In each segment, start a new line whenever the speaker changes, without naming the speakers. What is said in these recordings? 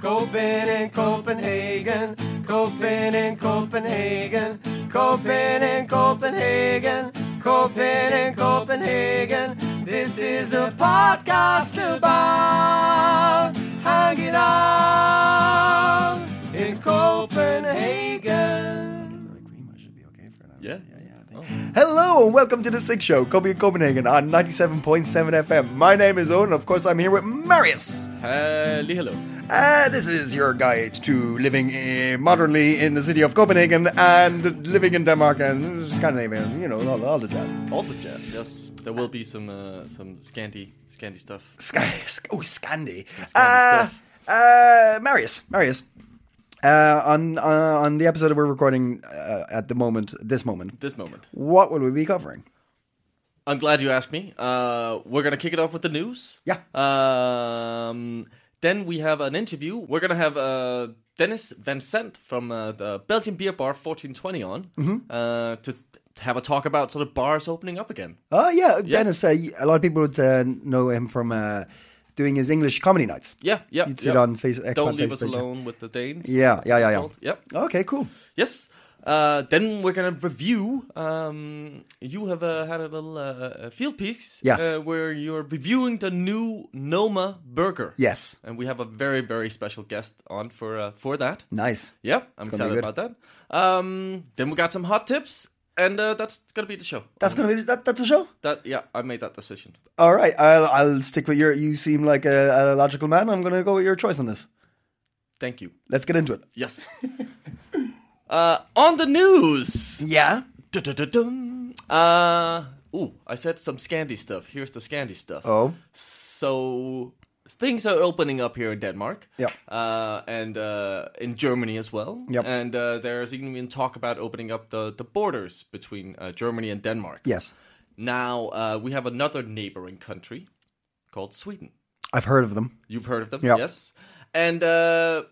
Copen in Copenhagen, Copen in Copenhagen, Copen in Copenhagen, Copen in Copenhagen. This is a podcast about hanging out in Copenhagen.
Yeah. yeah,
Oh. Hello and welcome to the Sick Show, Copy in Copenhagen on 97.7 FM. My name is Owen, of course I'm here with Marius.
Hello, hello.
Uh, this is your guide to living uh, modernly in the city of Copenhagen and living in Denmark and Scandinavia, you know, all, all the jazz.
All the jazz. Yes, there will be some uh, some scanty scanty stuff.
Sc- sc- oh, Scandi. Uh,
stuff.
uh, Marius, Marius. Uh, on uh, on the episode that we're recording uh, at the moment, this moment,
This moment.
what will we be covering?
I'm glad you asked me. Uh, we're gonna kick it off with the news.
Yeah.
Um, then we have an interview. We're gonna have uh, Dennis Van Sant from uh, the Belgian Beer Bar 1420 on
Mm-hmm.
uh, to have a talk about sort of bars opening up again.
Oh yeah, Dennis. Uh, y- a lot of people would uh, know him from uh, doing his English comedy nights.
Yeah, yeah.
You'd see
yeah.
it on face- Expat
Don't leave us
Facebook, yeah.
alone with the Danes.
Yeah, yeah, yeah, yeah.
Called. Yep.
Okay, cool.
Yes. Uh, then we're gonna review. Um, you have uh, had a little uh, uh, field piece,
Yeah.
uh, where you're reviewing the new Noma burger.
Yes,
and we have a very very special guest on for uh, for that.
nice.
Yep, I'm
gonna be
excited about that. Um, then we got some hot tips, and uh, that's gonna be the show.
That's gonna be that, that's a show.
that. Yeah, I made that decision.
All right, I'll I'll stick with your. You seem like a, a logical man. I'm going to go with your choice on this.
Thank you.
Let's get into it.
Yes. uh, on the news.
Yeah.
Dun-dun-dun-dun. Uh, ooh, I said some Scandi stuff. Here's the Scandi stuff.
Oh.
So things are opening up here in Denmark.
Yeah.
Uh, and uh, in Germany as well.
Yep.
And uh, there's even been talk about opening up the, the borders between uh, Germany and Denmark.
Yes,
Now uh, we have another neighboring country called Sweden.
I've heard of them.
You've heard of them,
Yeah.
yes. And uh,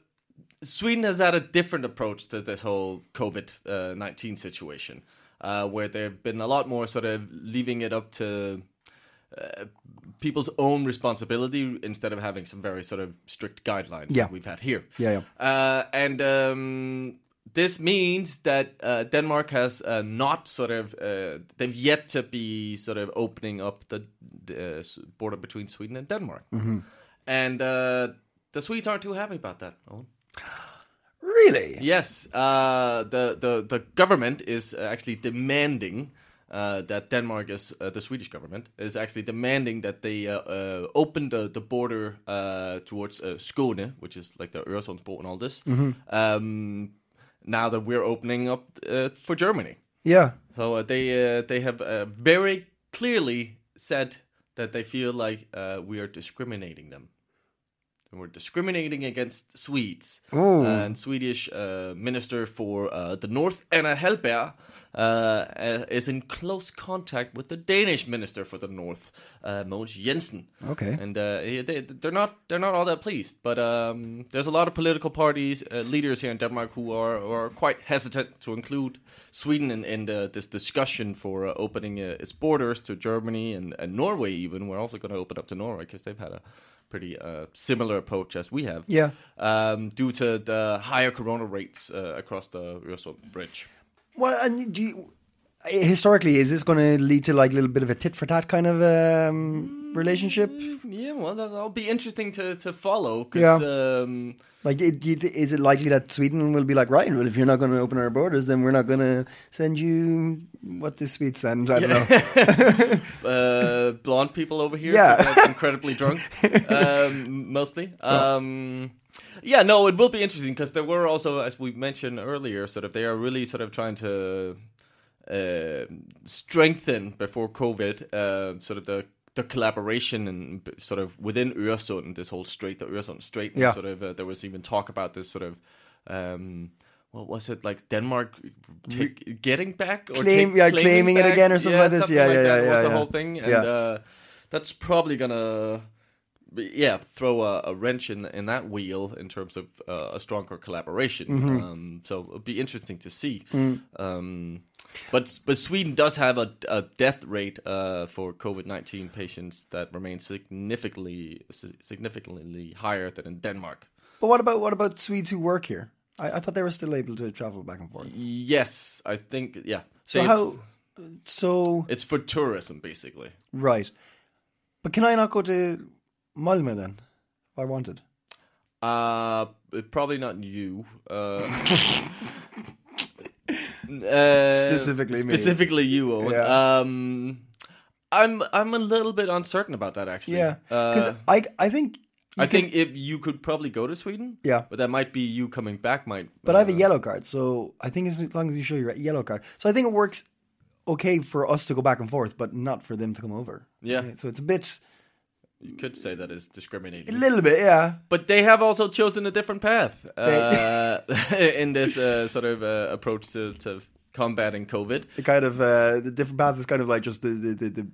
Sweden has had a different approach to this whole COVID uh, nineteen situation, uh, where they've been a lot more sort of leaving it up to uh, people's own responsibility instead of having some very sort of strict guidelines
Yeah.
that we've had here.
Yeah,
Uh, and um, this means that uh, Denmark has uh, not sort of uh, they've yet to be sort of opening up the uh, s- border between Sweden and Denmark,
Mm-hmm.
and uh, the Swedes aren't too happy about that. Owen.
Really?
Yes, uh, the the the government is uh, actually demanding. Uh, that Denmark is uh, the Swedish government is actually demanding that they uh, uh, open the the border uh, towards uh, Skåne, which is like the Øresundsbro and all this. Um, now that we're opening up uh, for Germany,
Yeah.
so uh, they uh, they have uh, very clearly said that they feel like uh, we are discriminating them. And we're discriminating against Swedes. And Swedish uh, minister for uh, the North, Anna Hellberg, uh, uh, is in close contact with the Danish minister for the North, uh, Mogens Jensen.
Okay.
And uh, yeah, they, they're not they're not all that pleased. But um, there's a lot of political parties uh, leaders here in Denmark who are, are quite hesitant to include Sweden in, in the, this discussion for uh, opening uh, its borders to Germany and, and Norway. Even we're also going to open up to Norway because they've had a pretty uh, similar approach as we have.
Yeah.
Um, due to the higher corona rates uh, across the Øresund bridge.
Well, and do you, historically, is this going to lead to like a little bit of a tit for tat kind of um, relationship?
Yeah, well, that- that'll be interesting to, to follow. 'cause,
Yeah.
Um,
Like, it- do you thi- is it likely that Sweden will be like, right? Well, if you're not going to open our borders, then we're not going to send you what the Swedes send. I don't know.
uh, blonde people over here.
Yeah.
that are incredibly drunk, um, mostly. Um, yeah, no, it will be interesting because there were also, as we mentioned earlier, sort of they are really sort of trying to uh, strengthen before COVID, uh, sort of the the collaboration and b- sort of within Öresund, this whole Strait, the Öresund Strait,
Yeah.
sort of uh, there was even talk about this sort of. Um, what was it like? Denmark take, getting back or
Claim- yeah, claiming it again or something like this?
something
Yeah, yeah,
that
yeah,
was
yeah,
the
yeah.
whole thing, and
Yeah.
uh, that's probably gonna, be- yeah, throw a, a wrench in in that wheel in terms of uh, a stronger collaboration.
Mm-hmm.
Um, so it'll be interesting to see.
Mm.
Um, but but Sweden does have a, a death rate uh, for COVID nineteen patients that remains significantly si- significantly higher than in Denmark.
But what about what about Swedes who work here? I, I thought they were still able to travel back and forth.
Yes, I think yeah.
So
It's-
how? So
It's for tourism, basically.
right, but can I not go to Malmö then if I wanted?
Uh, but probably not you. Uh, uh,
Specifically me.
specifically you, Owen.
Yeah.
Um, I'm I'm a little bit uncertain about that actually.
Yeah, because
uh,
I I think you
I
can-
think if you could probably go to Sweden.
Yeah.
but that might be you coming back. Might.
But I have a yellow card, so I think as long as you show your yellow card, so I think it works okay for us to go back and forth, but not for them to come over.
Yeah.
So it's a bit,
you could say that is
a
discriminating.
little bit, yeah.
But they have also chosen a different path uh, in this uh, sort of uh, approach to, to combating COVID.
The kind of uh, the different path is kind of like just the the the the,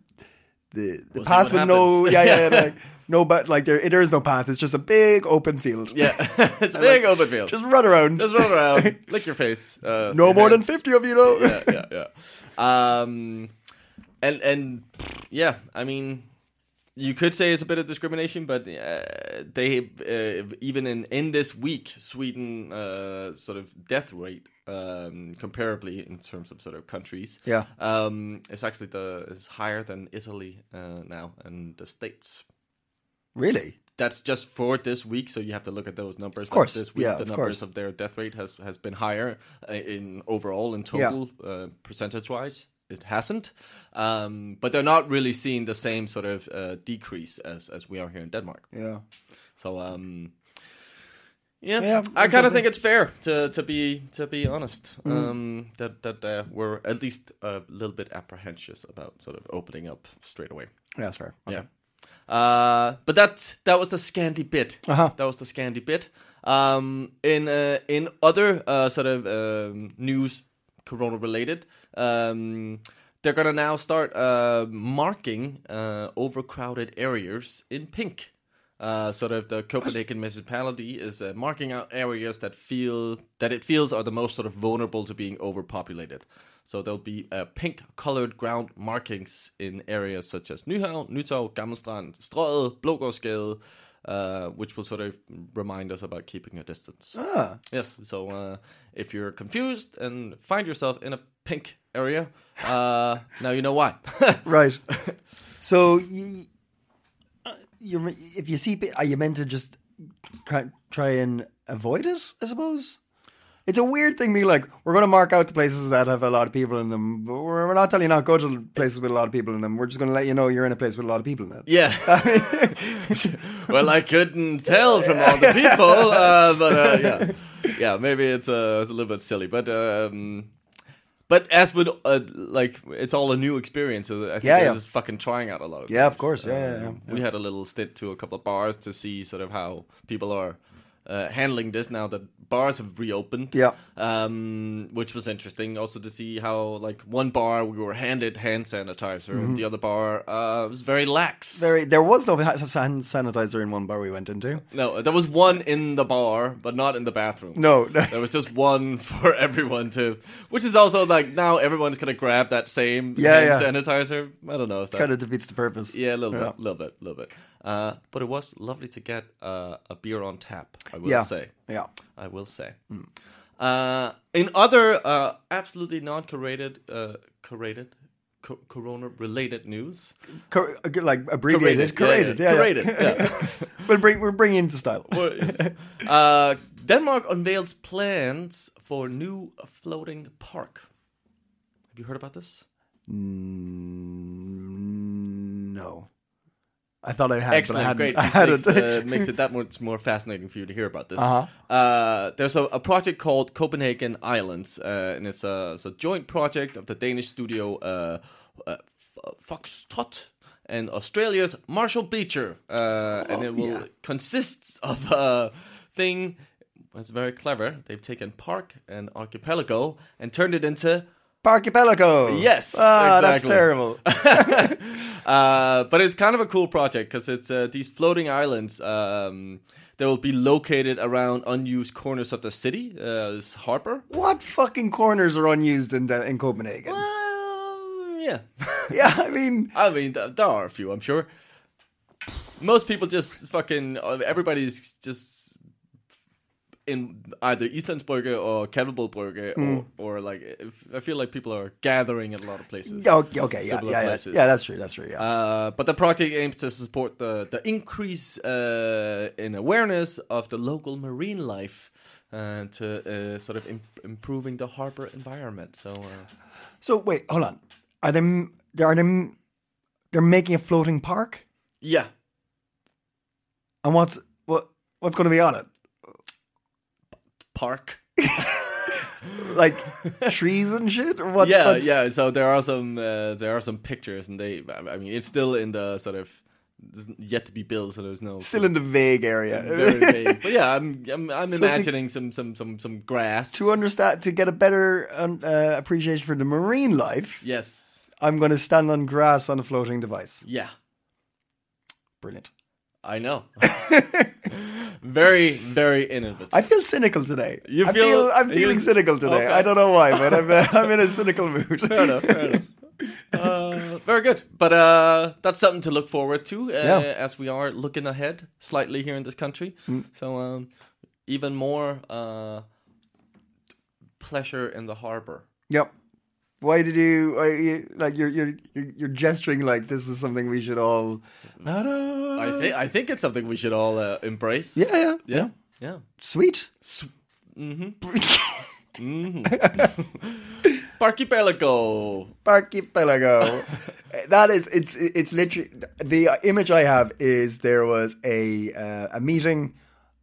the, the
We'll see
path
what
with no
happens.
yeah yeah, yeah, like, no but like there there is no path. It's just a big open field.
Yeah, it's a big open field.
Just run around.
Just run around, lick your face. Uh,
no
your
more than
hands.
fifty of you though.
yeah, yeah, yeah. Um, and and yeah, I mean, you could say it's a bit of discrimination, but uh, they uh, even in in this week, Sweden uh, sort of death rate um, comparably in terms of sort of countries,
Yeah.
um, it's actually the is higher than Italy uh, now and the states.
Really?
That's just for this week, so you have to look at those numbers. Of
course,
this week
yeah,
the
of
numbers
course.
of their death rate has has been higher uh, in overall in total uh, percentage wise. It hasn't, um, but they're not really seeing the same sort of uh, decrease as as we are here in Denmark.
Yeah.
So. Um, yeah,
Yeah,
I kind of
interesting. Mm.
think it's fair to to be to be honest um, that that uh, we're at least a little bit apprehensive about sort of opening up straight away.
Yeah, that's fair.
Yeah. Uh, but that that was the Scandi bit.
Uh-huh.
That was the Scandi bit. Um, in uh, in other uh, sort of um, news, Corona related, um, they're gonna now start uh, marking uh, overcrowded areas in pink. Uh, sort of the Copenhagen municipality is uh, marking out areas that feel that it feels are the most sort of vulnerable to being overpopulated. So there'll be uh, pink-colored ground markings in areas such as Nyhavn, Nytorv, Gammelstrand, Strøget, Blågårdsgade, uh, which will sort of remind us about keeping a distance.
Ah,
Yes. So uh, if you're confused and find yourself in a pink area, uh, now you know why.
right. so you, you if you see pe- are you meant to just cr- try and avoid it? I suppose. It's a weird thing being like, we're going to mark out the places that have a lot of people in them, but we're we're not telling you not go to places with a lot of people in them. We're just going to let you know you're in a place with a lot of people in it.
yeah. well, I couldn't tell from all the people, uh, but uh, yeah, yeah, maybe it's, uh, it's a little bit silly, but. Um, but as with uh, like, it's all a new experience. so I think
Yeah,
they're
yeah.
just fucking trying out a lot of.
Yeah, of
things.
course, yeah, yeah, yeah.
We had a little stint to a couple of bars to see sort of how people are uh, handling this now that bars have reopened.
Yeah.
um, which was interesting. Also to see how like one bar we were handed hand sanitizer,
Mm-hmm.
and the other bar uh, was very lax.
There, there was no ha- hand sanitizer in one bar we went into.
No, there was one in the bar, but not in the bathroom.
No, no.
There was just one for everyone to, which is also like now everyone's gonna grab that same
Yeah,
hand
yeah.
sanitizer. I don't know, is that
Kind of defeats the purpose.
yeah, a little
Yeah.
bit, little bit, little bit. Uh, but it was lovely to get uh, a beer on tap. I will
Yeah. Mm.
say.
Yeah.
I will say. Uh, in other uh, absolutely non-curated, uh, curated, co- corona-related news,
Cor- uh, like abbreviated,
Curated,
curated, yeah, yeah.
curated, yeah.
we'll bring, we're bringing into style.
Well, yes. uh, Denmark unveils plans for new floating park. Have you heard about this?
Mm, No. I thought I had, but I
Excellent,
hadn't.
great.
I
This
had
makes,
it.
uh, makes it that much more fascinating for you to hear about this.
Uh-huh.
Uh, there's a, a project called Copenhagen Islands, uh, and it's a, it's a joint project of the Danish studio uh, uh, F- Foxtrot and Australia's Marshall Bleacher,
Oh,
uh, and it will consists of a thing that's very clever. They've taken park and archipelago and turned it into
Archipelago.
uh, Yes,
Ah, that's
exactly.
terrible.
Uh, but it's kind of a cool project because it's uh, these floating islands um, that will be located around unused corners of the city, uh, this harbor.
what fucking corners are unused in Den- in Copenhagen?
Well, yeah.
Yeah, I mean,
I mean, th- there are a few, I'm sure. Most people just fucking uh, everybody's just in either Islandsborger or Kebabelborger
Hmm.
or, or like if- I feel like people are gathering at a lot of places.
okay, Oh, okay yeah,
Similar
yeah, yeah,
places.
yeah, that's true, that's true. Yeah.
Uh, but the project aims to support the, the increase uh, in awareness of the local marine life and to uh, sort of im- improving the harbor environment. So uh,
so wait, hold on. Are they? m- They are they? m- They're making a floating park,
yeah,
and what's what? What's going to be on it?
park.
Like trees and shit, or what?
yeah,
what's-
yeah. So there are some uh, there are some pictures, and they I mean it's still in the sort of it's yet to be built, so there's no
still in the vague area.
very vague. But yeah, I'm I'm, I'm
So the-
imagining some some some some grass.
to understand, to get a better um, uh, appreciation for the marine life,
yes,
I'm going to stand on grass on a floating device.
yeah.
Brilliant.
I know. very, very innovative.
I feel cynical today.
You
I
feel-
feel I'm
you-
feeling cynical today.
okay.
I don't know why, but I'm, uh, I'm in a cynical mood.
fair enough. Fair enough. Uh, very good. But uh, that's something to look forward to uh,
Yeah. Mm.
as we are looking ahead slightly here in this country. So um, even more uh, pleasure in the harbor.
Yep. Why did you, why you like you're, you're you're you're gesturing like this is something we should all?
Mm-hmm.
Ta-da.
I think I think it's something we should all uh, embrace.
Yeah, yeah,
Yeah. Yeah.
Sweet.
mm-hmm. Archipelago.
Archipelago. Eh, that is, it's it's literally the image I have is there was a uh, a meeting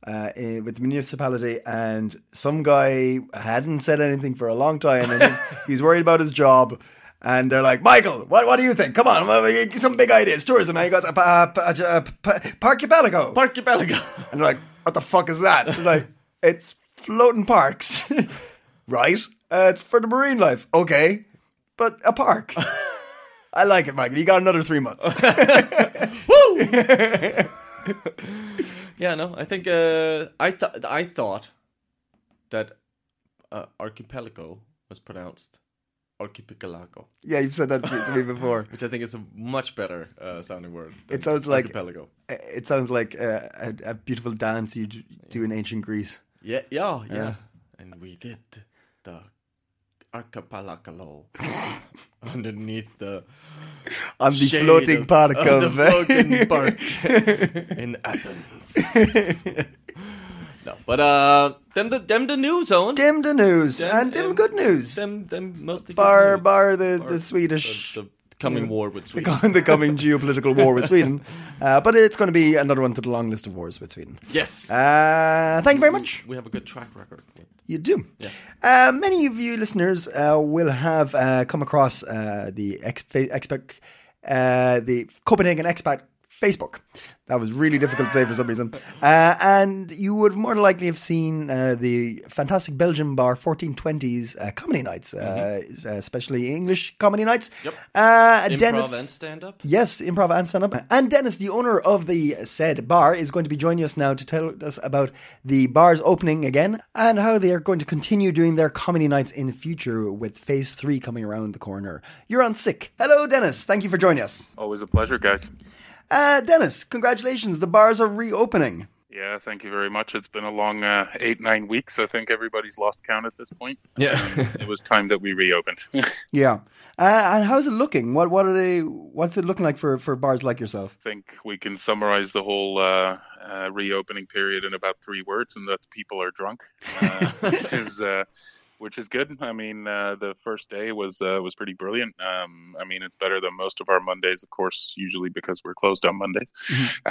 uh, in, with the municipality and some guy hadn't said anything for a long time and he's, he's worried about his job. And they're like, Michael, what, what do you think? Come on, some big ideas, tourism. And he goes, uh, pa- pa- uh, pa- Parkipelago.
Archipelago.
And they're like, what the fuck is that? And like, it's floating parks. right? Uh, it's for the marine life. Okay. But a park. I like it, Michael. You got another three months.
Woo! yeah, no, I think uh, I thought I thought that uh, archipelago was pronounced archipelago,
yeah, you've said that to me before.
which I think is a much better uh, sounding word. than
It sounds like-
archipelago.
It sounds like uh, a, a beautiful dance you d- do in ancient Greece.
Yeah, yeah, yeah. And we did the archipelago underneath the
On the
shade
floating
of-
park
of the
of.
floating park in Athens. no, but uh, them the them the new zone.
Dim the news and dim
them-
good news.
Them them mostly good
bar
news.
bar the,
Bar-
the Swedish
the, the coming war with Sweden.
the coming geopolitical war with Sweden. Uh, but it's going to be another one to the long list of wars with Sweden.
yes,
Uh, thank you very much.
we have a good track record. With.
You do. Uh, many of you listeners uh, will have uh, come across uh, the ex- fa- expat, uh, the Copenhagen expat Facebook. That was really difficult to say for some reason. Uh, and you would more than likely have seen uh, the fantastic Belgian bar 1420s uh, comedy nights, uh, s- uh, especially English comedy nights. Yep. Uh,
Improv
Dennis-
and stand up.
Yes, improv and stand up. And Dennis, the owner of the said bar, is going to be joining us now to tell us about the bar's opening again and how they are going to continue doing their comedy nights in the future with phase three coming around the corner. You're on sick. Hello, Dennis. Thank you for joining us.
Always a pleasure, guys.
Uh, Dennis, congratulations. The bars are reopening.
Yeah, thank you very much. It's been a long uh, eight, nine weeks. I think everybody's lost count at this point.
Yeah,
It was time that we reopened.
Yeah. Uh, and how's it looking? What what are they? What's it looking like for, for bars like yourself?
think we can summarize the whole uh, uh, reopening period in about three words, and that's people are drunk. Uh, is uh, which is good. I mean, uh, the first day was uh, was pretty brilliant. Um, I mean, it's better than most of our Mondays, of course, usually because we're closed on Mondays.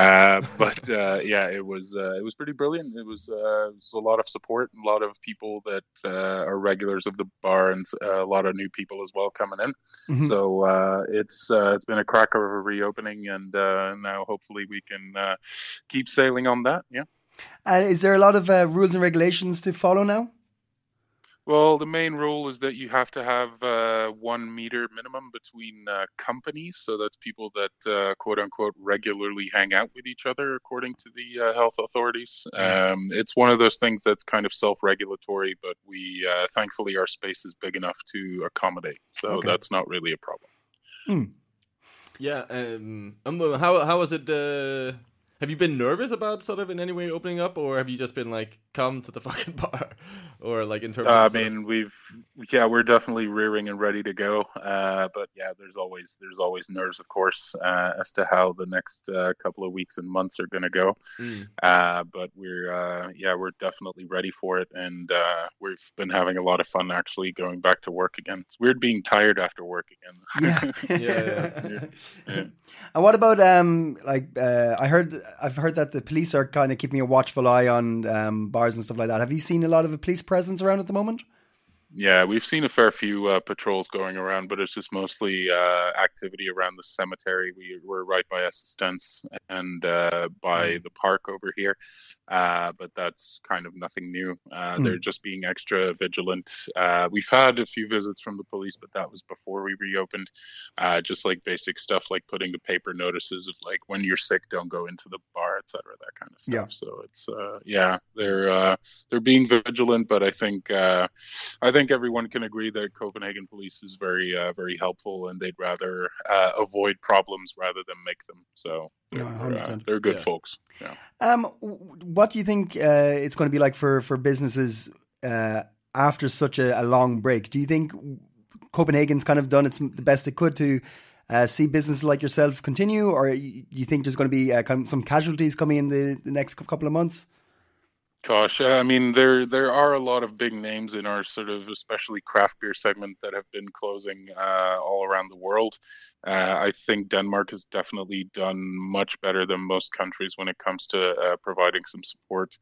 uh, but uh, yeah, it was uh, it was pretty brilliant. It was, uh, it was a lot of support, a lot of people that uh, are regulars of the bar, and uh, a lot of new people as well coming in.
Mhm.
So uh, it's uh, it's been a cracker of a reopening, and uh, now hopefully we can uh, keep sailing on that. Yeah.
And is there a lot of uh, rules and regulations to follow now?
Well, the main rule is that you have to have uh, one meter minimum between uh, companies. So that's people that uh, quote unquote regularly hang out with each other, according to the uh, health authorities. Um, it's one of those things that's kind of self regulatory, but we uh, thankfully our space is big enough to accommodate. So
Okay.
that's not really a problem.
Yeah. Um, um, how how was it? Uh, have you been nervous about sort of in any way opening up, or have you just been like, come to the fucking bar, or like in terms?
Uh,
of
I
sort of-
mean, we've yeah, we're definitely rearing and ready to go. Uh, but yeah, there's always there's always nerves, of course, uh, as to how the next uh, couple of weeks and months are going to go.
Mm.
Uh, but we're uh, yeah, we're definitely ready for it, and uh, we've been having a lot of fun actually going back to work again. It's weird being tired after work again.
Yeah.
yeah,
yeah. Yeah.
And what about um like uh, I heard I've heard that the police are kind of keeping a watchful eye on um, bars and stuff like that. Have you seen a lot of a police presence around at the moment?
Yeah, we've seen a fair few uh, patrols going around, but it's just mostly uh, activity around the cemetery. We we're right by Assistance and uh, by the park over here, uh, but that's kind of nothing new. Uh,
Hmm.
They're just being extra vigilant. Uh, we've had a few visits from the police, but that was before we reopened. Uh, just like basic stuff, like putting the paper notices of like when you're sick, don't go into the bar, etc., that kind of stuff.
Yeah.
So it's uh, yeah, they're uh, they're being vigilant, but I think. Uh, I think everyone can agree that Copenhagen police is very, uh, very helpful, and they'd rather uh, avoid problems rather than make them. So
No,
they're, uh,
100%.
they're good
Yeah.
folks. Yeah.
Um, w- what do you think uh, it's going to be like for for businesses uh, after such a, a long break? Do you think Copenhagen's kind of done its the best it could to uh, see businesses like yourself continue, or you, you think there's going to be uh, kind of some casualties coming in the, the next cou- couple of months?
Gosh, I mean, there there are a lot of big names in our sort of, especially craft beer segment, that have been closing uh, all around the world. Uh, I think Denmark has definitely done much better than most countries when it comes to uh, providing some support.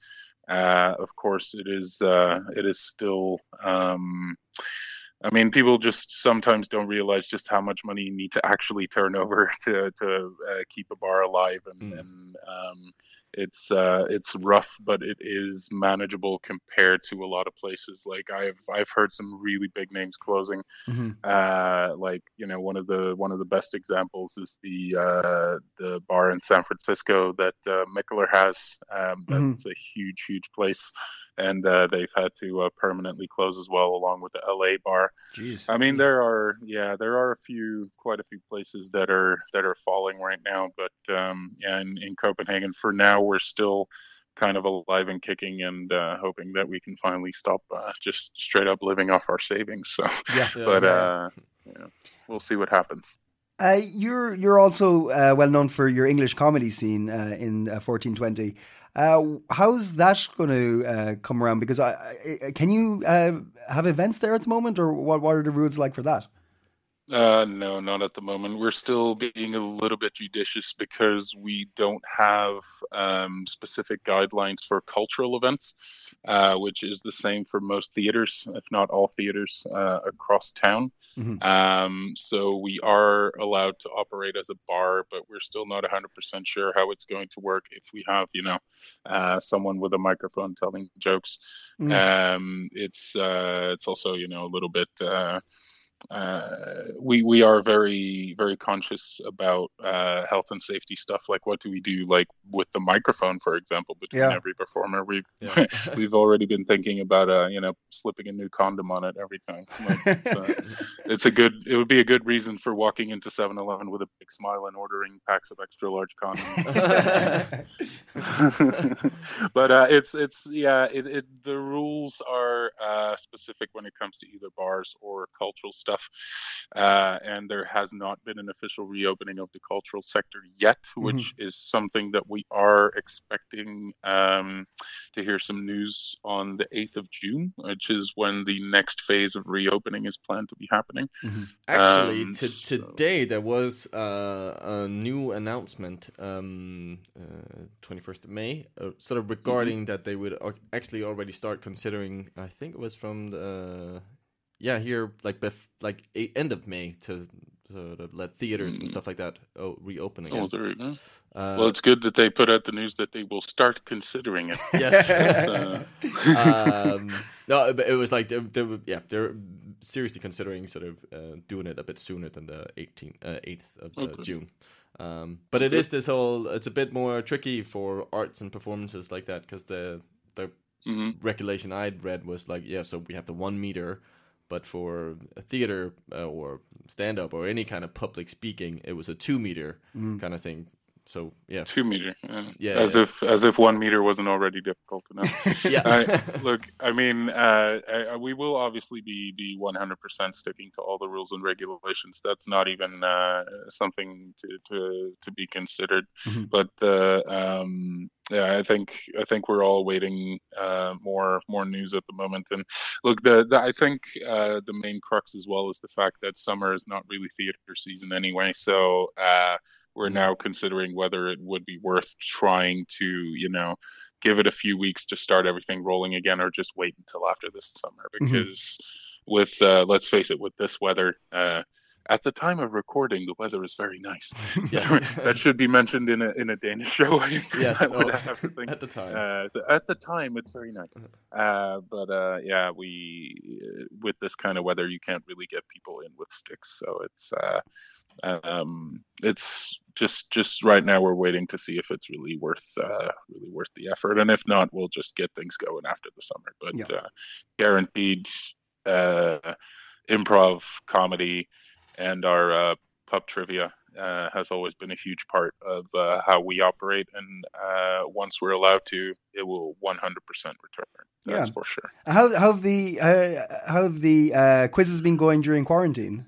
Uh, of course, it is uh, it is still. Um, I mean, people just sometimes don't realize just how much money you need to actually turn over to to uh, keep a bar alive and,
Mm.
and um, it's uh, it's rough, but it is manageable compared to a lot of places. Like I've I've heard some really big names closing.
Mhm.
Uh, like you know, one of the one of the best examples is the uh, the bar in San Francisco that uh, Mickler has. Um, that's
Mhm.
a huge huge place, and uh, they've had to uh, permanently close as well, along with the LA bar.
Jeez.
I
Hmm.
mean, there are yeah, there are a few, quite a few places that are that are falling right now. But um, yeah, in, in Copenhagen for now, we're still kind of alive and kicking, and uh, hoping that we can finally stop uh, just straight up living off our savings. So,
Yeah.
Yeah,
but
yeah.
uh, yeah, we'll see what happens.
Uh, you're you're also uh, well known for your English comedy scene uh, in uh, 1420. Uh, how's that going to uh, come around? Because I, I can you uh, have events there at the moment, or what? What are the rules like for that?
Uh, no, not at the moment. We're still being a little bit judicious because we don't have um, specific guidelines for cultural events, uh, which is the same for most theaters, if not all theaters uh, across town.
Mhm.
Um, so we are allowed to operate as a bar, but we're still not 100% sure how it's going to work if we have, you know, uh, someone with a microphone telling jokes.
Mm.
Um, it's uh, it's also, you know, a little bit. Uh, uh, we we are very very conscious about uh, health and safety stuff. Like, what do we do? Like with the microphone, for example, between
Yeah.
every performer, we
Yeah.
we've already been thinking about uh, you know slipping a new condom on it every time. Like, it's, uh, it's a good. It would be a good reason for walking into 7-Eleven with a big smile and ordering packs of extra large condoms. but uh, it's it's yeah it, it the rules are uh, specific when it comes to either bars or cultural stuff uh, and there has not been an official reopening of the cultural sector yet which is something that we are expecting um, to hear some news on the 8th of june which is when the next phase of reopening is planned to be happening
Actually,
Um,
to,
so-
today there was uh, a new announcement, um, uh, 21st of May, uh, sort of regarding
Mm-hmm.
that they would ac- actually already start considering. I think it was from the yeah here like bef- like a- end of May to sort of let theaters and stuff like that oh, reopen again.
Mm-hmm. oh there you go
Uh,
well it's good that they put out the news that they will start considering it
yes.
Uh,
um, no, but it was like they, they were, yeah, they're seriously considering sort of uh, doing it a bit sooner than the 18th, uh, 8th of uh, June. Um, but it is this whole. It's a bit more tricky for arts and performances like that because the the
Mm-hmm.
regulation I'd read was like, yeah, so we have the one meter, but for a theater uh, or stand up or any kind of public speaking, it was a two meter kind of thing. So yeah,
two meter yeah.
Yeah,
as
yeah.
if as if one meter wasn't already difficult enough
yeah.
I, look, I mean, uh, I, I- we will obviously be be 100% sticking to all the rules and regulations. That's not even uh, something to, to to be considered. But the um, yeah, I think I think we're all waiting uh, more more news at the moment. And look, the, the I think uh, the main crux as well is the fact that summer is not really theater season anyway. So. Uh, we're now considering whether it would be worth trying to, you know, give it a few weeks to start everything rolling again or just wait until after this summer
Mm-hmm.
because with uh, let's face it with this weather uh, at the time of recording the weather is very nice
Yes.
that should be mentioned in a, in a danish show I,
Yes,
I would
oh,
have to think
at the time.
uh, so at the time it's very nice uh, but uh, yeah we uh, with this kind of weather you can't really get people in with sticks so it's uh, um, it's just just right now we're waiting to see if it's really worth uh, really worth the effort, and if not, we'll just get things going after the summer. But
Yeah.
uh, guaranteed, uh, improv comedy and our uh, pub trivia uh, has always been a huge part of uh, how we operate, and uh, once we're allowed to, it will 100% return. That's
Yeah. Uh,
for sure.
How how have the uh, how have the uh, quizzes been going during quarantine?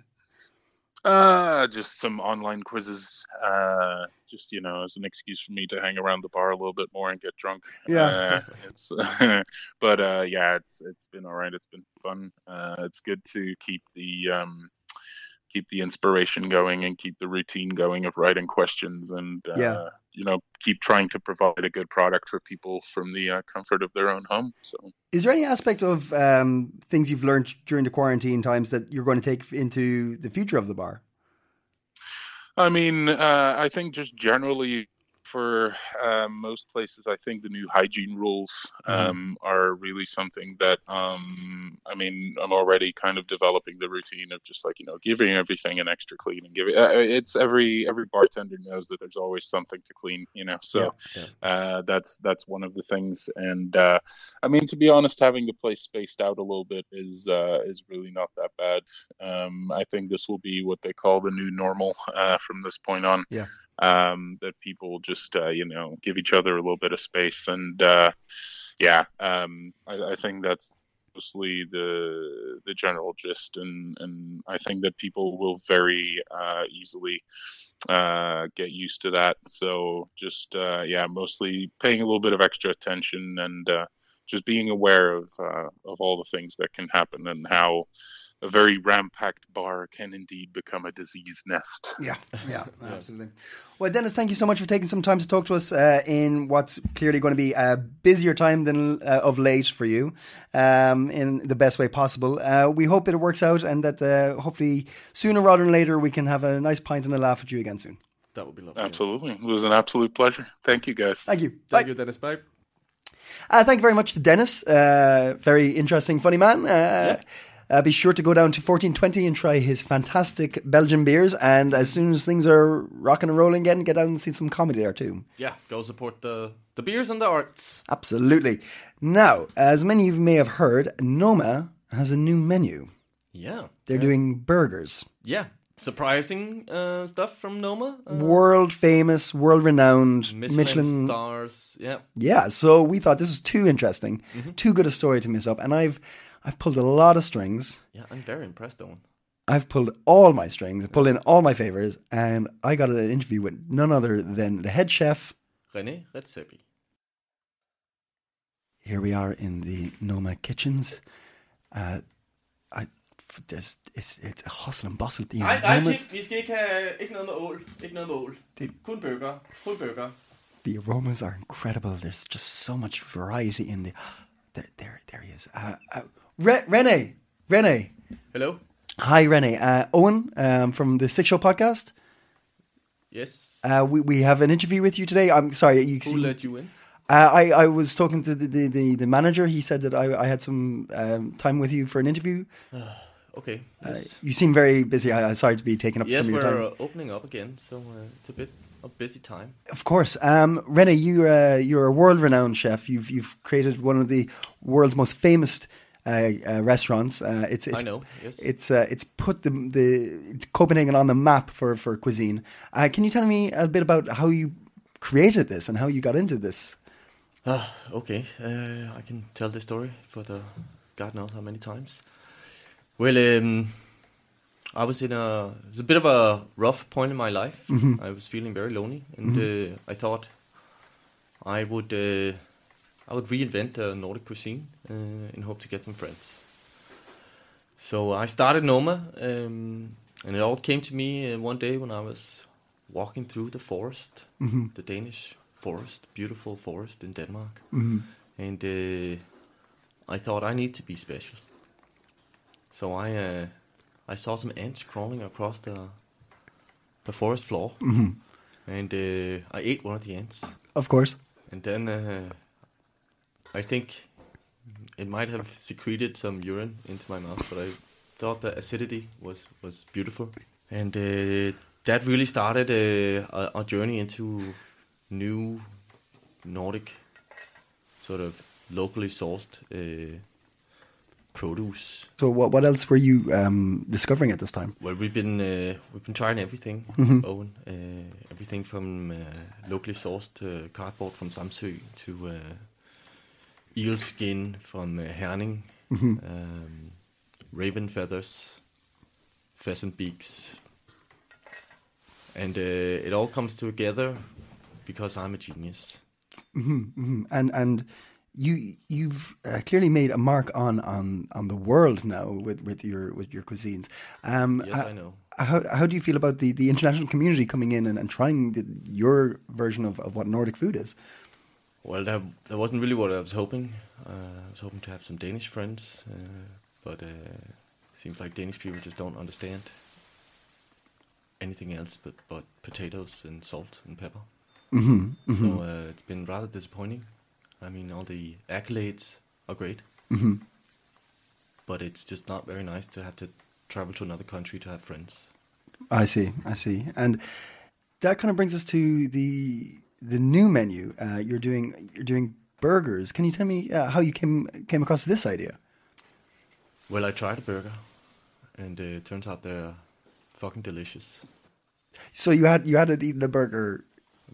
Uh, just some online quizzes. Uh, just you know, as an excuse for me to hang around the bar a little bit more and get drunk.
Yeah.
Uh, it's, but uh, yeah, it's it's been all right. It's been fun. Uh, it's good to keep the um, keep the inspiration going and keep the routine going of writing questions and uh,
Yeah.
you know, keep trying to provide a good product for people from the uh, comfort of their own home. So.
Is there any aspect of um, things you've learned during the quarantine times that you're going to take into the future of the bar?
I mean, uh, I think just generally for uh, most places, I think the new hygiene rules um, are really something that um, I mean, I'm already kind of developing the routine of just like you know giving everything an extra clean and giving. Uh, it's every every bartender knows that there's always something to clean, you know. So Uh, that's that's one of the things. And uh, I mean, to be honest, having the place spaced out a little bit is uh, is really not that bad. Um, I think this will be what they call the new normal uh, from this point on.
Yeah.
Um, that people just uh, you know give each other a little bit of space, and uh, yeah, um, I, I think that's mostly the the general gist, and and I think that people will very uh, easily uh, get used to that. So just uh, yeah, mostly paying a little bit of extra attention and uh, just being aware of uh, of all the things that can happen and how a very ram-packed bar can indeed become a disease nest.
Yeah, yeah, absolutely. Well, Dennis, thank you so much for taking some time to talk to us uh, in what's clearly going to be a busier time than uh, of late for you, um, in the best way possible. Uh, we hope it works out and that uh, hopefully sooner rather than later we can have a nice pint and a laugh at you again soon.
that would be lovely. yeah.
Absolutely, it was an absolute pleasure. Thank you, guys.
Thank you. Bye.
Thank you, Dennis. Bye.
Uh, thank you very much to Dennis. Uh, very interesting, funny man. Uh, uh, be sure to go down to 1420 and try his fantastic Belgian beers. And as soon as things are rocking and rolling again, get down and see some comedy there too.
Yeah, go support the the beers and the arts.
Absolutely. Now, as many of you may have heard, Noma has a new menu.
Yeah,
They're doing burgers.
yeah. surprising uh, stuff from Noma. Uh,
world famous, world renowned
Michelin,
Michelin.
stars. Yeah.
Yeah, so we thought this was too interesting,
Mm-hmm.
too good a story to miss up, and I've I've pulled a lot of strings.
Yeah, I'm very impressed, Owen.
I've pulled all my strings, I pulled in all my favors, and I got an interview with none other than the head chef.
René Redzepi.
Here we are in the Noma kitchens. Uh, I f- there's it's it's a hustle and bustle. You know,
Nej, nej,
Noma-
vi, vi skal ikke have ikke noget med ål. Ikke noget med ål.
Det-
Kun bøger. Kun bøger.
the aromas are incredible. There's just so much variety in the. There, there, there he is. Uh, uh, Re- Rene, Rene.
Hello?
Hi, Rene. Uh, Owen um, from the Six Show podcast.
Yes.
Uh, we, we have an interview with you today. I'm sorry. You
Who
see, uh,
let you in?
I, I was talking to the, the, the, the manager. He said that I, I had some um, time with you for an interview.
Okay. Yes,
You seem very busy. I, I'm sorry to be taking up
yes
some of your
we're
time.
uh, opening up again, so uh, it's a bit a busy time.
Of course, um, Rene, you uh, you're a world renowned chef. You've you've created one of the world's most famous uh, uh, restaurants. Uh, it's, it's
know, yes.
It's uh, it's put the the it's Copenhagen on the map for for cuisine. Uh, can you tell me a bit about how you created this and how you got into this?
Ah, okay. Uh, I can tell this story for the God knows how many times. Well, um, I was in a it's a bit of a rough point in my life. I was feeling very lonely, and uh, I thought I would uh, I would reinvent uh, Nordic cuisine uh, in hope to get some friends. So I started Noma, um, and it all came to me uh, one day when I was walking through the forest, the Danish forest, beautiful forest in Denmark, and uh, I thought I need to be special. So I uh, I saw some ants crawling across the the forest floor, and uh, I ate one of the ants,
Of course,
and then uh, I think it might have secreted some urine into my mouth, but I thought the acidity was was beautiful, and uh, that really started uh, a, a journey into new Nordic sort of locally sourced uh, produce.
so what what else were you um, discovering at this time?
Well, we've been uh, we've been trying everything, Owen. Uh, everything from uh, locally sourced uh, cardboard from Samsø to uh, eel skin from uh, Herning, um, raven feathers, pheasant beaks, and uh, it all comes together because I'm a genius.
Mhm. And and you you've uh, clearly made a mark on on on the world now with with your with your cuisines. Um,
Yes,
uh,
I know.
How, how do you feel about the, the international community coming in and, and trying the, your version of, of what Nordic food is?
Well, that that wasn't really what I was hoping. Uh, I was hoping to have some Danish friends, uh, but uh, seems like Danish people just don't understand anything else but but potatoes and salt and pepper. Mm-hmm, So uh, it's been rather disappointing. I mean, all the accolades are great, but it's just not very nice to have to travel to another country to have friends.
I see, I see, and that kind of brings us to the the new menu. Uh, you're doing you're doing burgers. Can you tell me uh, how you came came across this idea?
Well, I tried a burger, and uh, it turns out they're fucking delicious.
So you had you hadn't eaten a burger,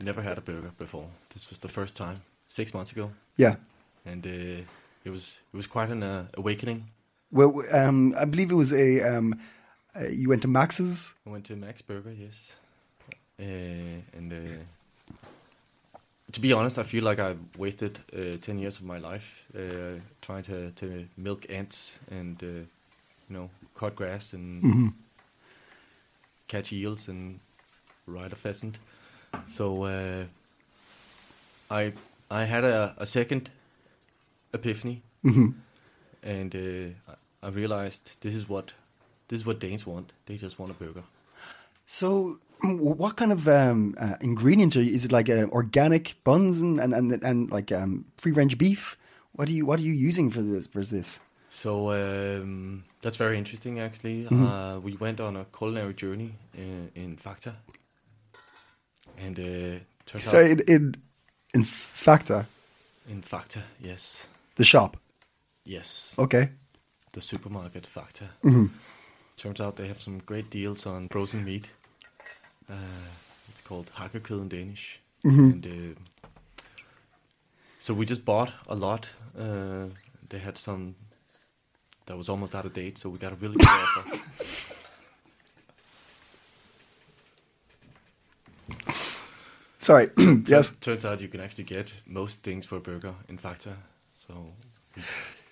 Never had a burger before. This was the first time six months ago,
yeah.
and uh, it was it was quite an uh, awakening.
Well, um, I believe it was a um, uh, you went to Max's.
I went to Max Burger, yes, uh, and uh, to be honest, I feel like I've wasted uh, ten years of my life uh, trying to, to milk ants and uh, you know cut grass and catch eels and ride a pheasant. So uh, I I had a, a second epiphany, and uh, I I realized this is what this is what Danes want. They just want a burger.
So, w- what kind of um, uh, ingredients are you, is it? Like uh, organic buns and and and, and like um, free range beef. What are you What are you using for this? For this?
So um, that's very interesting, actually. Uh, we went on a culinary journey in, in Fakta, and uh, turns
So
out
in, in in Facta,
in Fakta, yes,
the shop.
yes,
Okay.
the supermarket Fakta, Turns out they have some great deals on frozen meat. Uh, it's called hakkekød in Danish. And uh, so we just bought a lot. Uh, they had some that was almost out of date, so we got a really good offer.
Sorry. yes.
Turns out you can actually get most things for a burger in Factor. So, we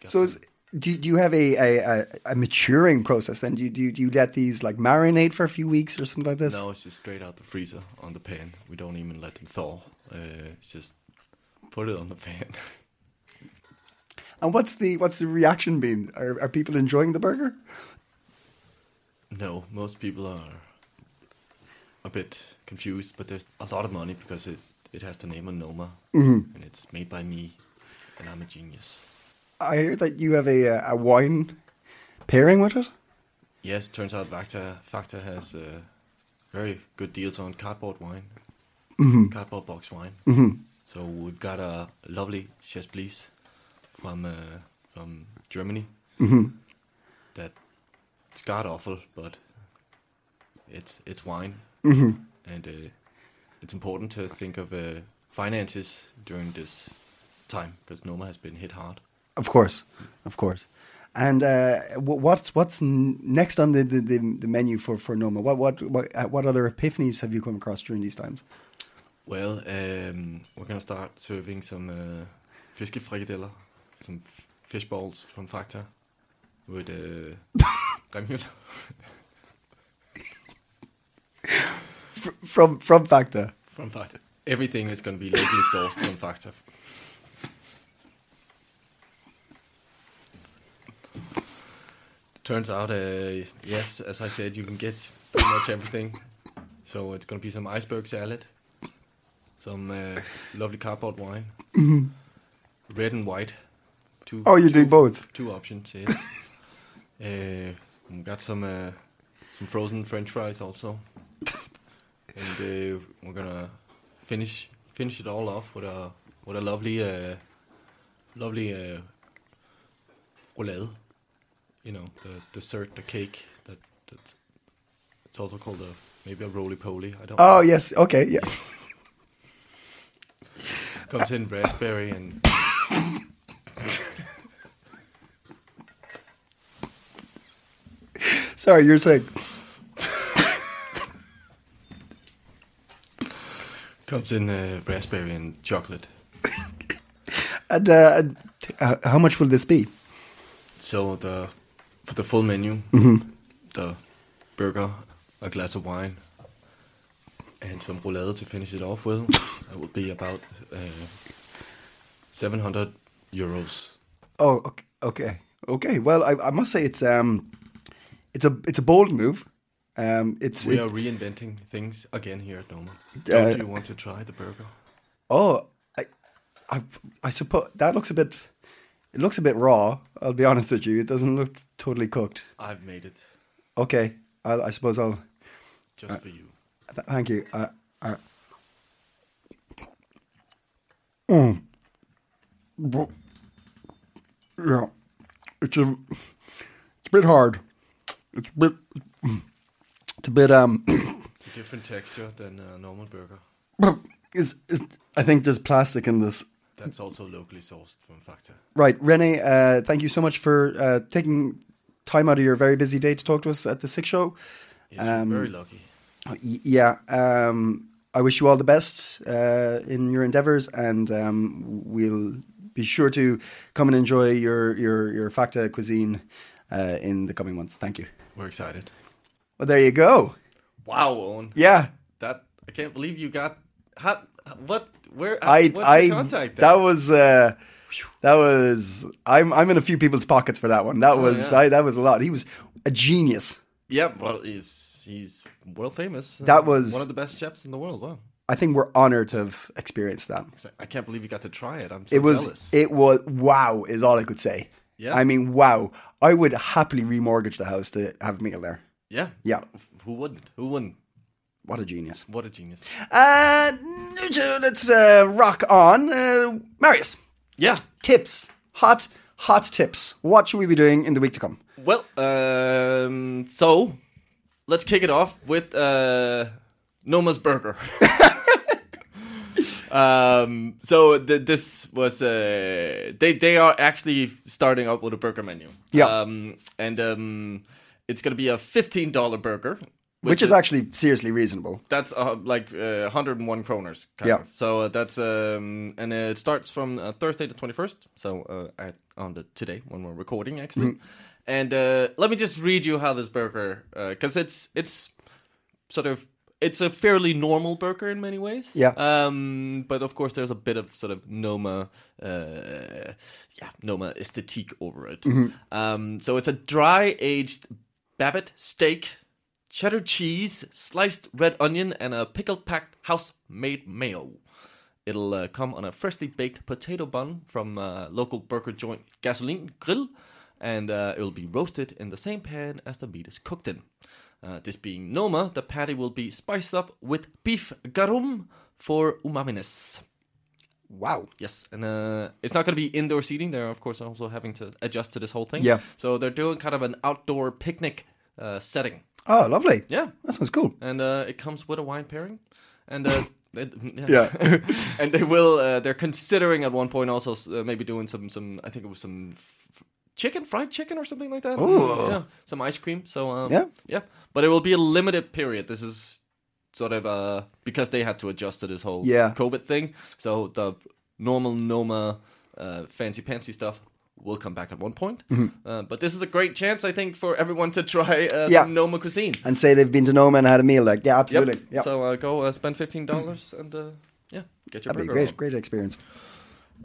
got
So is,
some-
do, do you have a, a, a, a maturing process then? Do you, do, you, do you let these like marinate for a few weeks or something like this?
No, it's just straight out the freezer on the pan. We don't even let them thaw. Uh, it's just put it on the pan.
And what's the what's the reaction been? Are, are people enjoying the burger?
no, most people are a bit confused, but there's a lot of money because it it has the name of Noma
Mm-hmm.
and it's made by me, and I'm a genius.
I hear that you have a uh, a wine pairing with it.
Yes, turns out Factor Factor has uh, very good deals on cardboard wine, cardboard box wine. So we've got a lovely Chef Bliss from uh, from Germany that's god awful, but it's it's wine, and uh, it's important to think of uh, finances during this time because Noma has been hit hard.
Of course, of course. And uh, wh- what's what's n- next on the, the, the, the menu for, for Noma? What what what, uh, what other epiphanies have you come across during these times?
Well, um, we're gonna start serving some uh, fiskefrikadeller, some f- fish balls from Factor with uh, Remula.
From from Factor.
from Factor. Everything is gonna be locally sourced from Factor. Turns out, uh, yes, as I said, you can get pretty much everything. So it's gonna be some iceberg salad, some uh, lovely cardboard wine, red and white. Two,
Mm-hmm. Oh, you
two
do both.
two options. Yes. uh, we got some uh, some frozen French fries also, and uh, we're gonna finish finish it all off with a with a lovely uh, lovely uh, roulade. You know the dessert, the cake that that's it's also called a maybe a roly poly. I don't.
Oh
know.
yes. Okay. Yeah.
comes in raspberry and
Sorry, you're saying.
comes in uh, raspberry and chocolate.
And, uh, and uh, how much will this be?
So the for the full menu,
Mm-hmm.
the burger, a glass of wine, and some roulade to finish it off with, that would be about uh, seven hundred euros.
Oh, okay, okay, okay. Well, I, I must say it's um, it's a it's a bold move. Um, it's
We
it-
are reinventing things again here at Noma. Don't
Uh,
you want to try the burger?
oh, I, I, I suppose that looks a bit, it looks a bit raw. I'll be honest with you, it doesn't look totally cooked.
I've made it
Okay, I'll, I suppose I'll.
just
Uh,
for you.
Th- thank you. I, I, Mm. Bro- Yeah, it's a, it's a bit hard. It's a bit, it's a bit um.
It's a different texture than a normal burger.
It's, it's, I think there's plastic in this.
That's also locally sourced from Factor.
Right, Rene, uh, thank you so much for uh, taking time out of your very busy day to talk to us at the Sick Show.
Yes,
Um,
you're very lucky.
Y- yeah, um, I wish you all the best uh, in your endeavors, and um, we'll be sure to come and enjoy your your your Facta cuisine uh, in the coming months. Thank you.
We're excited.
Well, there you go.
Wow, Owen.
Yeah,
That I can't believe you got. How, what? Where?
I
what's
I
your contact?
that was. Uh, that was I'm I'm in a few people's pockets for that one. That was
Oh, yeah.
I, that was a lot. He was a genius.
Yeah, well, he's, he's world famous.
That was-
one of the best chefs in the world. Wow,
I think we're honored to have experienced that.
I can't believe you got to try it. I'm so
It was
jealous.
it was wow is all I could say.
Yeah.
I mean wow. I would happily remortgage the house to have a meal there.
yeah,
Yeah.
Who wouldn't? Who wouldn't?
What a genius.
What a genius.
Uh so let's uh, rock on. Uh, Marius,
Yeah.
tips. Hot hot tips. What should we be doing in the week to come?
Well, um, so let's kick it off with uh, Noma's Burger. um, so th- this was uh, they they are actually starting up with a burger menu.
Yeah.
um, and um, it's gonna be a fifteen dollar burger,
which is actually seriously reasonable.
that's uh, like uh, 101 kroners. Kind
Yeah.
Of. So uh, that's um, and uh, it starts from uh, Thursday the 21st. So uh, at, on the today when we're recording actually. And uh, let me just read you how this burger, because it's it's sort of it's a fairly normal burger in many ways.
Yeah.
Um, but of course, there's a bit of sort of Noma, uh, yeah, Noma aesthetique over it. Um, so it's a dry aged Babbitt steak, cheddar cheese, sliced red onion, and a pickle packed house made mayo. It'll uh, come on a freshly baked potato bun from uh, local burger joint Gasoline Grill, and uh, it'll be roasted in the same pan as the meat is cooked in. Uh, this being Noma, the patty will be spiced up with beef garum for umaminess.
Wow.
Yes, and uh, it's not going to be indoor seating. They're of course also having to adjust to this whole thing.
Yeah.
So they're doing kind of an outdoor picnic uh, setting.
Oh, lovely.
Yeah
That sounds cool.
and uh, it comes with a wine pairing, and uh, it- yeah,
Yeah.
and they will. Uh, they're considering at one point also uh, maybe doing some some. I think it was some f- chicken, fried chicken, or something like that.
Ooh.
yeah, some ice cream. So um,
Yeah.
yeah, but it will be a limited period. This is sort of uh because they had to adjust to this whole
Yeah.
COVID thing. So the normal Noma uh, fancy pantsy stuff. Will come back at one point,
Mm-hmm.
uh, but this is a great chance, I think, for everyone to try uh,
Yeah.
some Noma cuisine.
And say they've been to Noma and had a meal. Like, yeah,
Yep.
absolutely. Yeah.
So uh, go uh, spend fifteen dollars and uh, yeah, get
That'd be
your burger.
great.
on.
Great experience.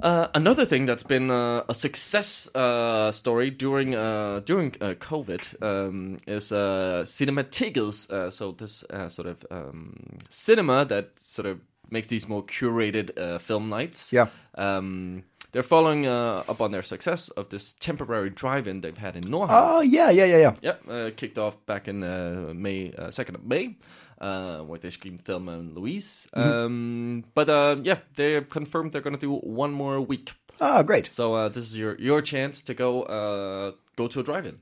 Uh, another thing that's been uh, a success uh, story during uh, during uh, COVID um, is uh, Cinematigels. Uh, so this uh, sort of um, cinema that sort of makes these more curated uh, film nights.
Yeah.
Um, they're following uh, up on their success of this temporary drive-in they've had in Norheim.
Oh, yeah, yeah, yeah, yeah.
Yep, uh, kicked off back in uh, May, uh, 2nd of May, uh, where they screamed Thelma and Louise. Um, but uh, yeah, they have confirmed they're going to do one more week.
Oh, great.
So uh, this is your, your chance to go uh, go to a drive in.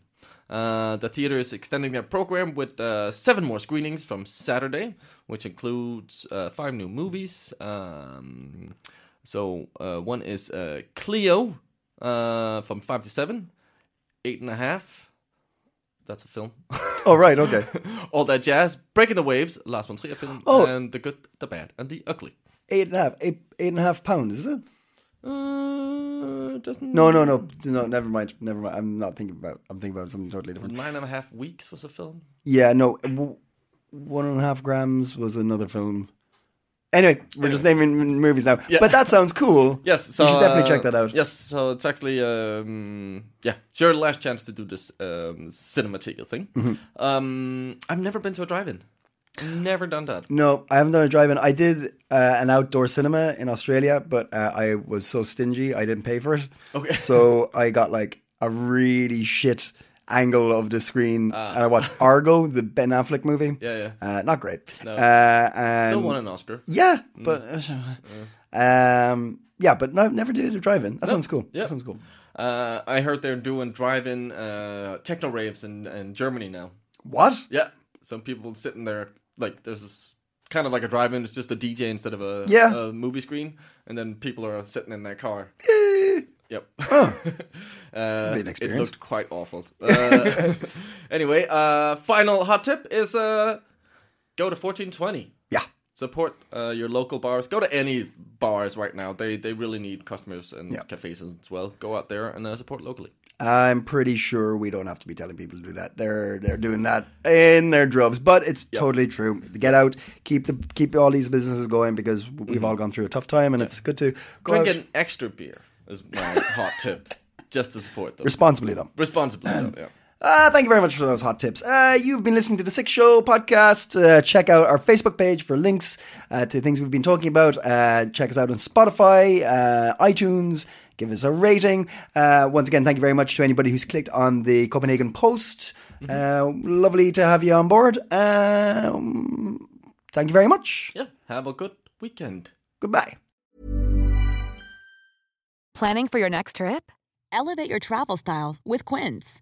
Uh, the theater is extending their program with uh, seven more screenings from Saturday, which includes uh, five new movies. Um, so uh, one is uh, Cleo uh, from 5 to 7, 8 and a half. That's a film.
Oh, right. Okay.
All that jazz, breaking the waves, last one Trier film,
Oh.
and the good, the bad, and the ugly.
Eight and a half. Eight, eight and a half pounds, is it?
Uh, doesn't
No, no, no. No, never mind. Never mind. I'm not thinking about I'm thinking about something totally different.
nine and a half weeks was a film.
Yeah, no. w- One and a half grams was another film. Anyway, we're just naming m- movies now.
Yeah.
But that sounds cool.
Yes, so
you should definitely
uh,
check that out.
Yes, so it's actually um, yeah, it's your last chance to do this um, cinematic thing.
Mm-hmm.
Um, I've never been to a drive-in, never done that.
No, I haven't done a drive-in. I did uh, an outdoor cinema in Australia, but uh, I was so stingy, I didn't pay for it.
Okay.
So I got like a really shit angle of the screen,
Ah.
and I watched Argo, the Ben Affleck movie.
Yeah, yeah.
Uh, not great. Uh, and
Still won an Oscar.
yeah, but uh, um, yeah, but no, never did a drive-in. That sounds cool.
Yeah.
That sounds cool.
Uh, I heard they're doing drive-in uh, techno raves in, in Germany now.
What?
Yeah, some people sitting there like there's this, kind of like a drive-in. It's just a DJ instead of a
Yeah.
a movie screen, and then people are sitting in their car. Yep. uh,
be an
it
experience.
looked quite awful. Uh, anyway, uh, final hot tip is uh, go to fourteen twenty.
Yeah.
Support uh, your local bars. Go to any bars right now. They they really need customers and
Yeah.
cafes as well. Go out there and uh, support locally.
I'm pretty sure we don't have to be telling people to do that. They're they're doing that in their droves, but it's totally true. Get out, keep the keep all these businesses going because we've all gone through a tough time, and it's good to go
Drink
out
an extra beer is my hot tip, just to support them
responsibly. Though,
responsibly. though, yeah.
Uh, thank you very much for those hot tips. Uh, you've been listening to the Six Show podcast. Uh, check out our Facebook page for links uh, to things we've been talking about. Uh, check us out on Spotify, uh, iTunes. Give us a rating. Uh, once again, thank you very much to anybody who's clicked on the Copenhagen Post. Uh, lovely to have you on board. Um, thank you very much.
Yeah. Have a good weekend.
Goodbye.
Planning for your next trip?
Elevate your travel style with Quince.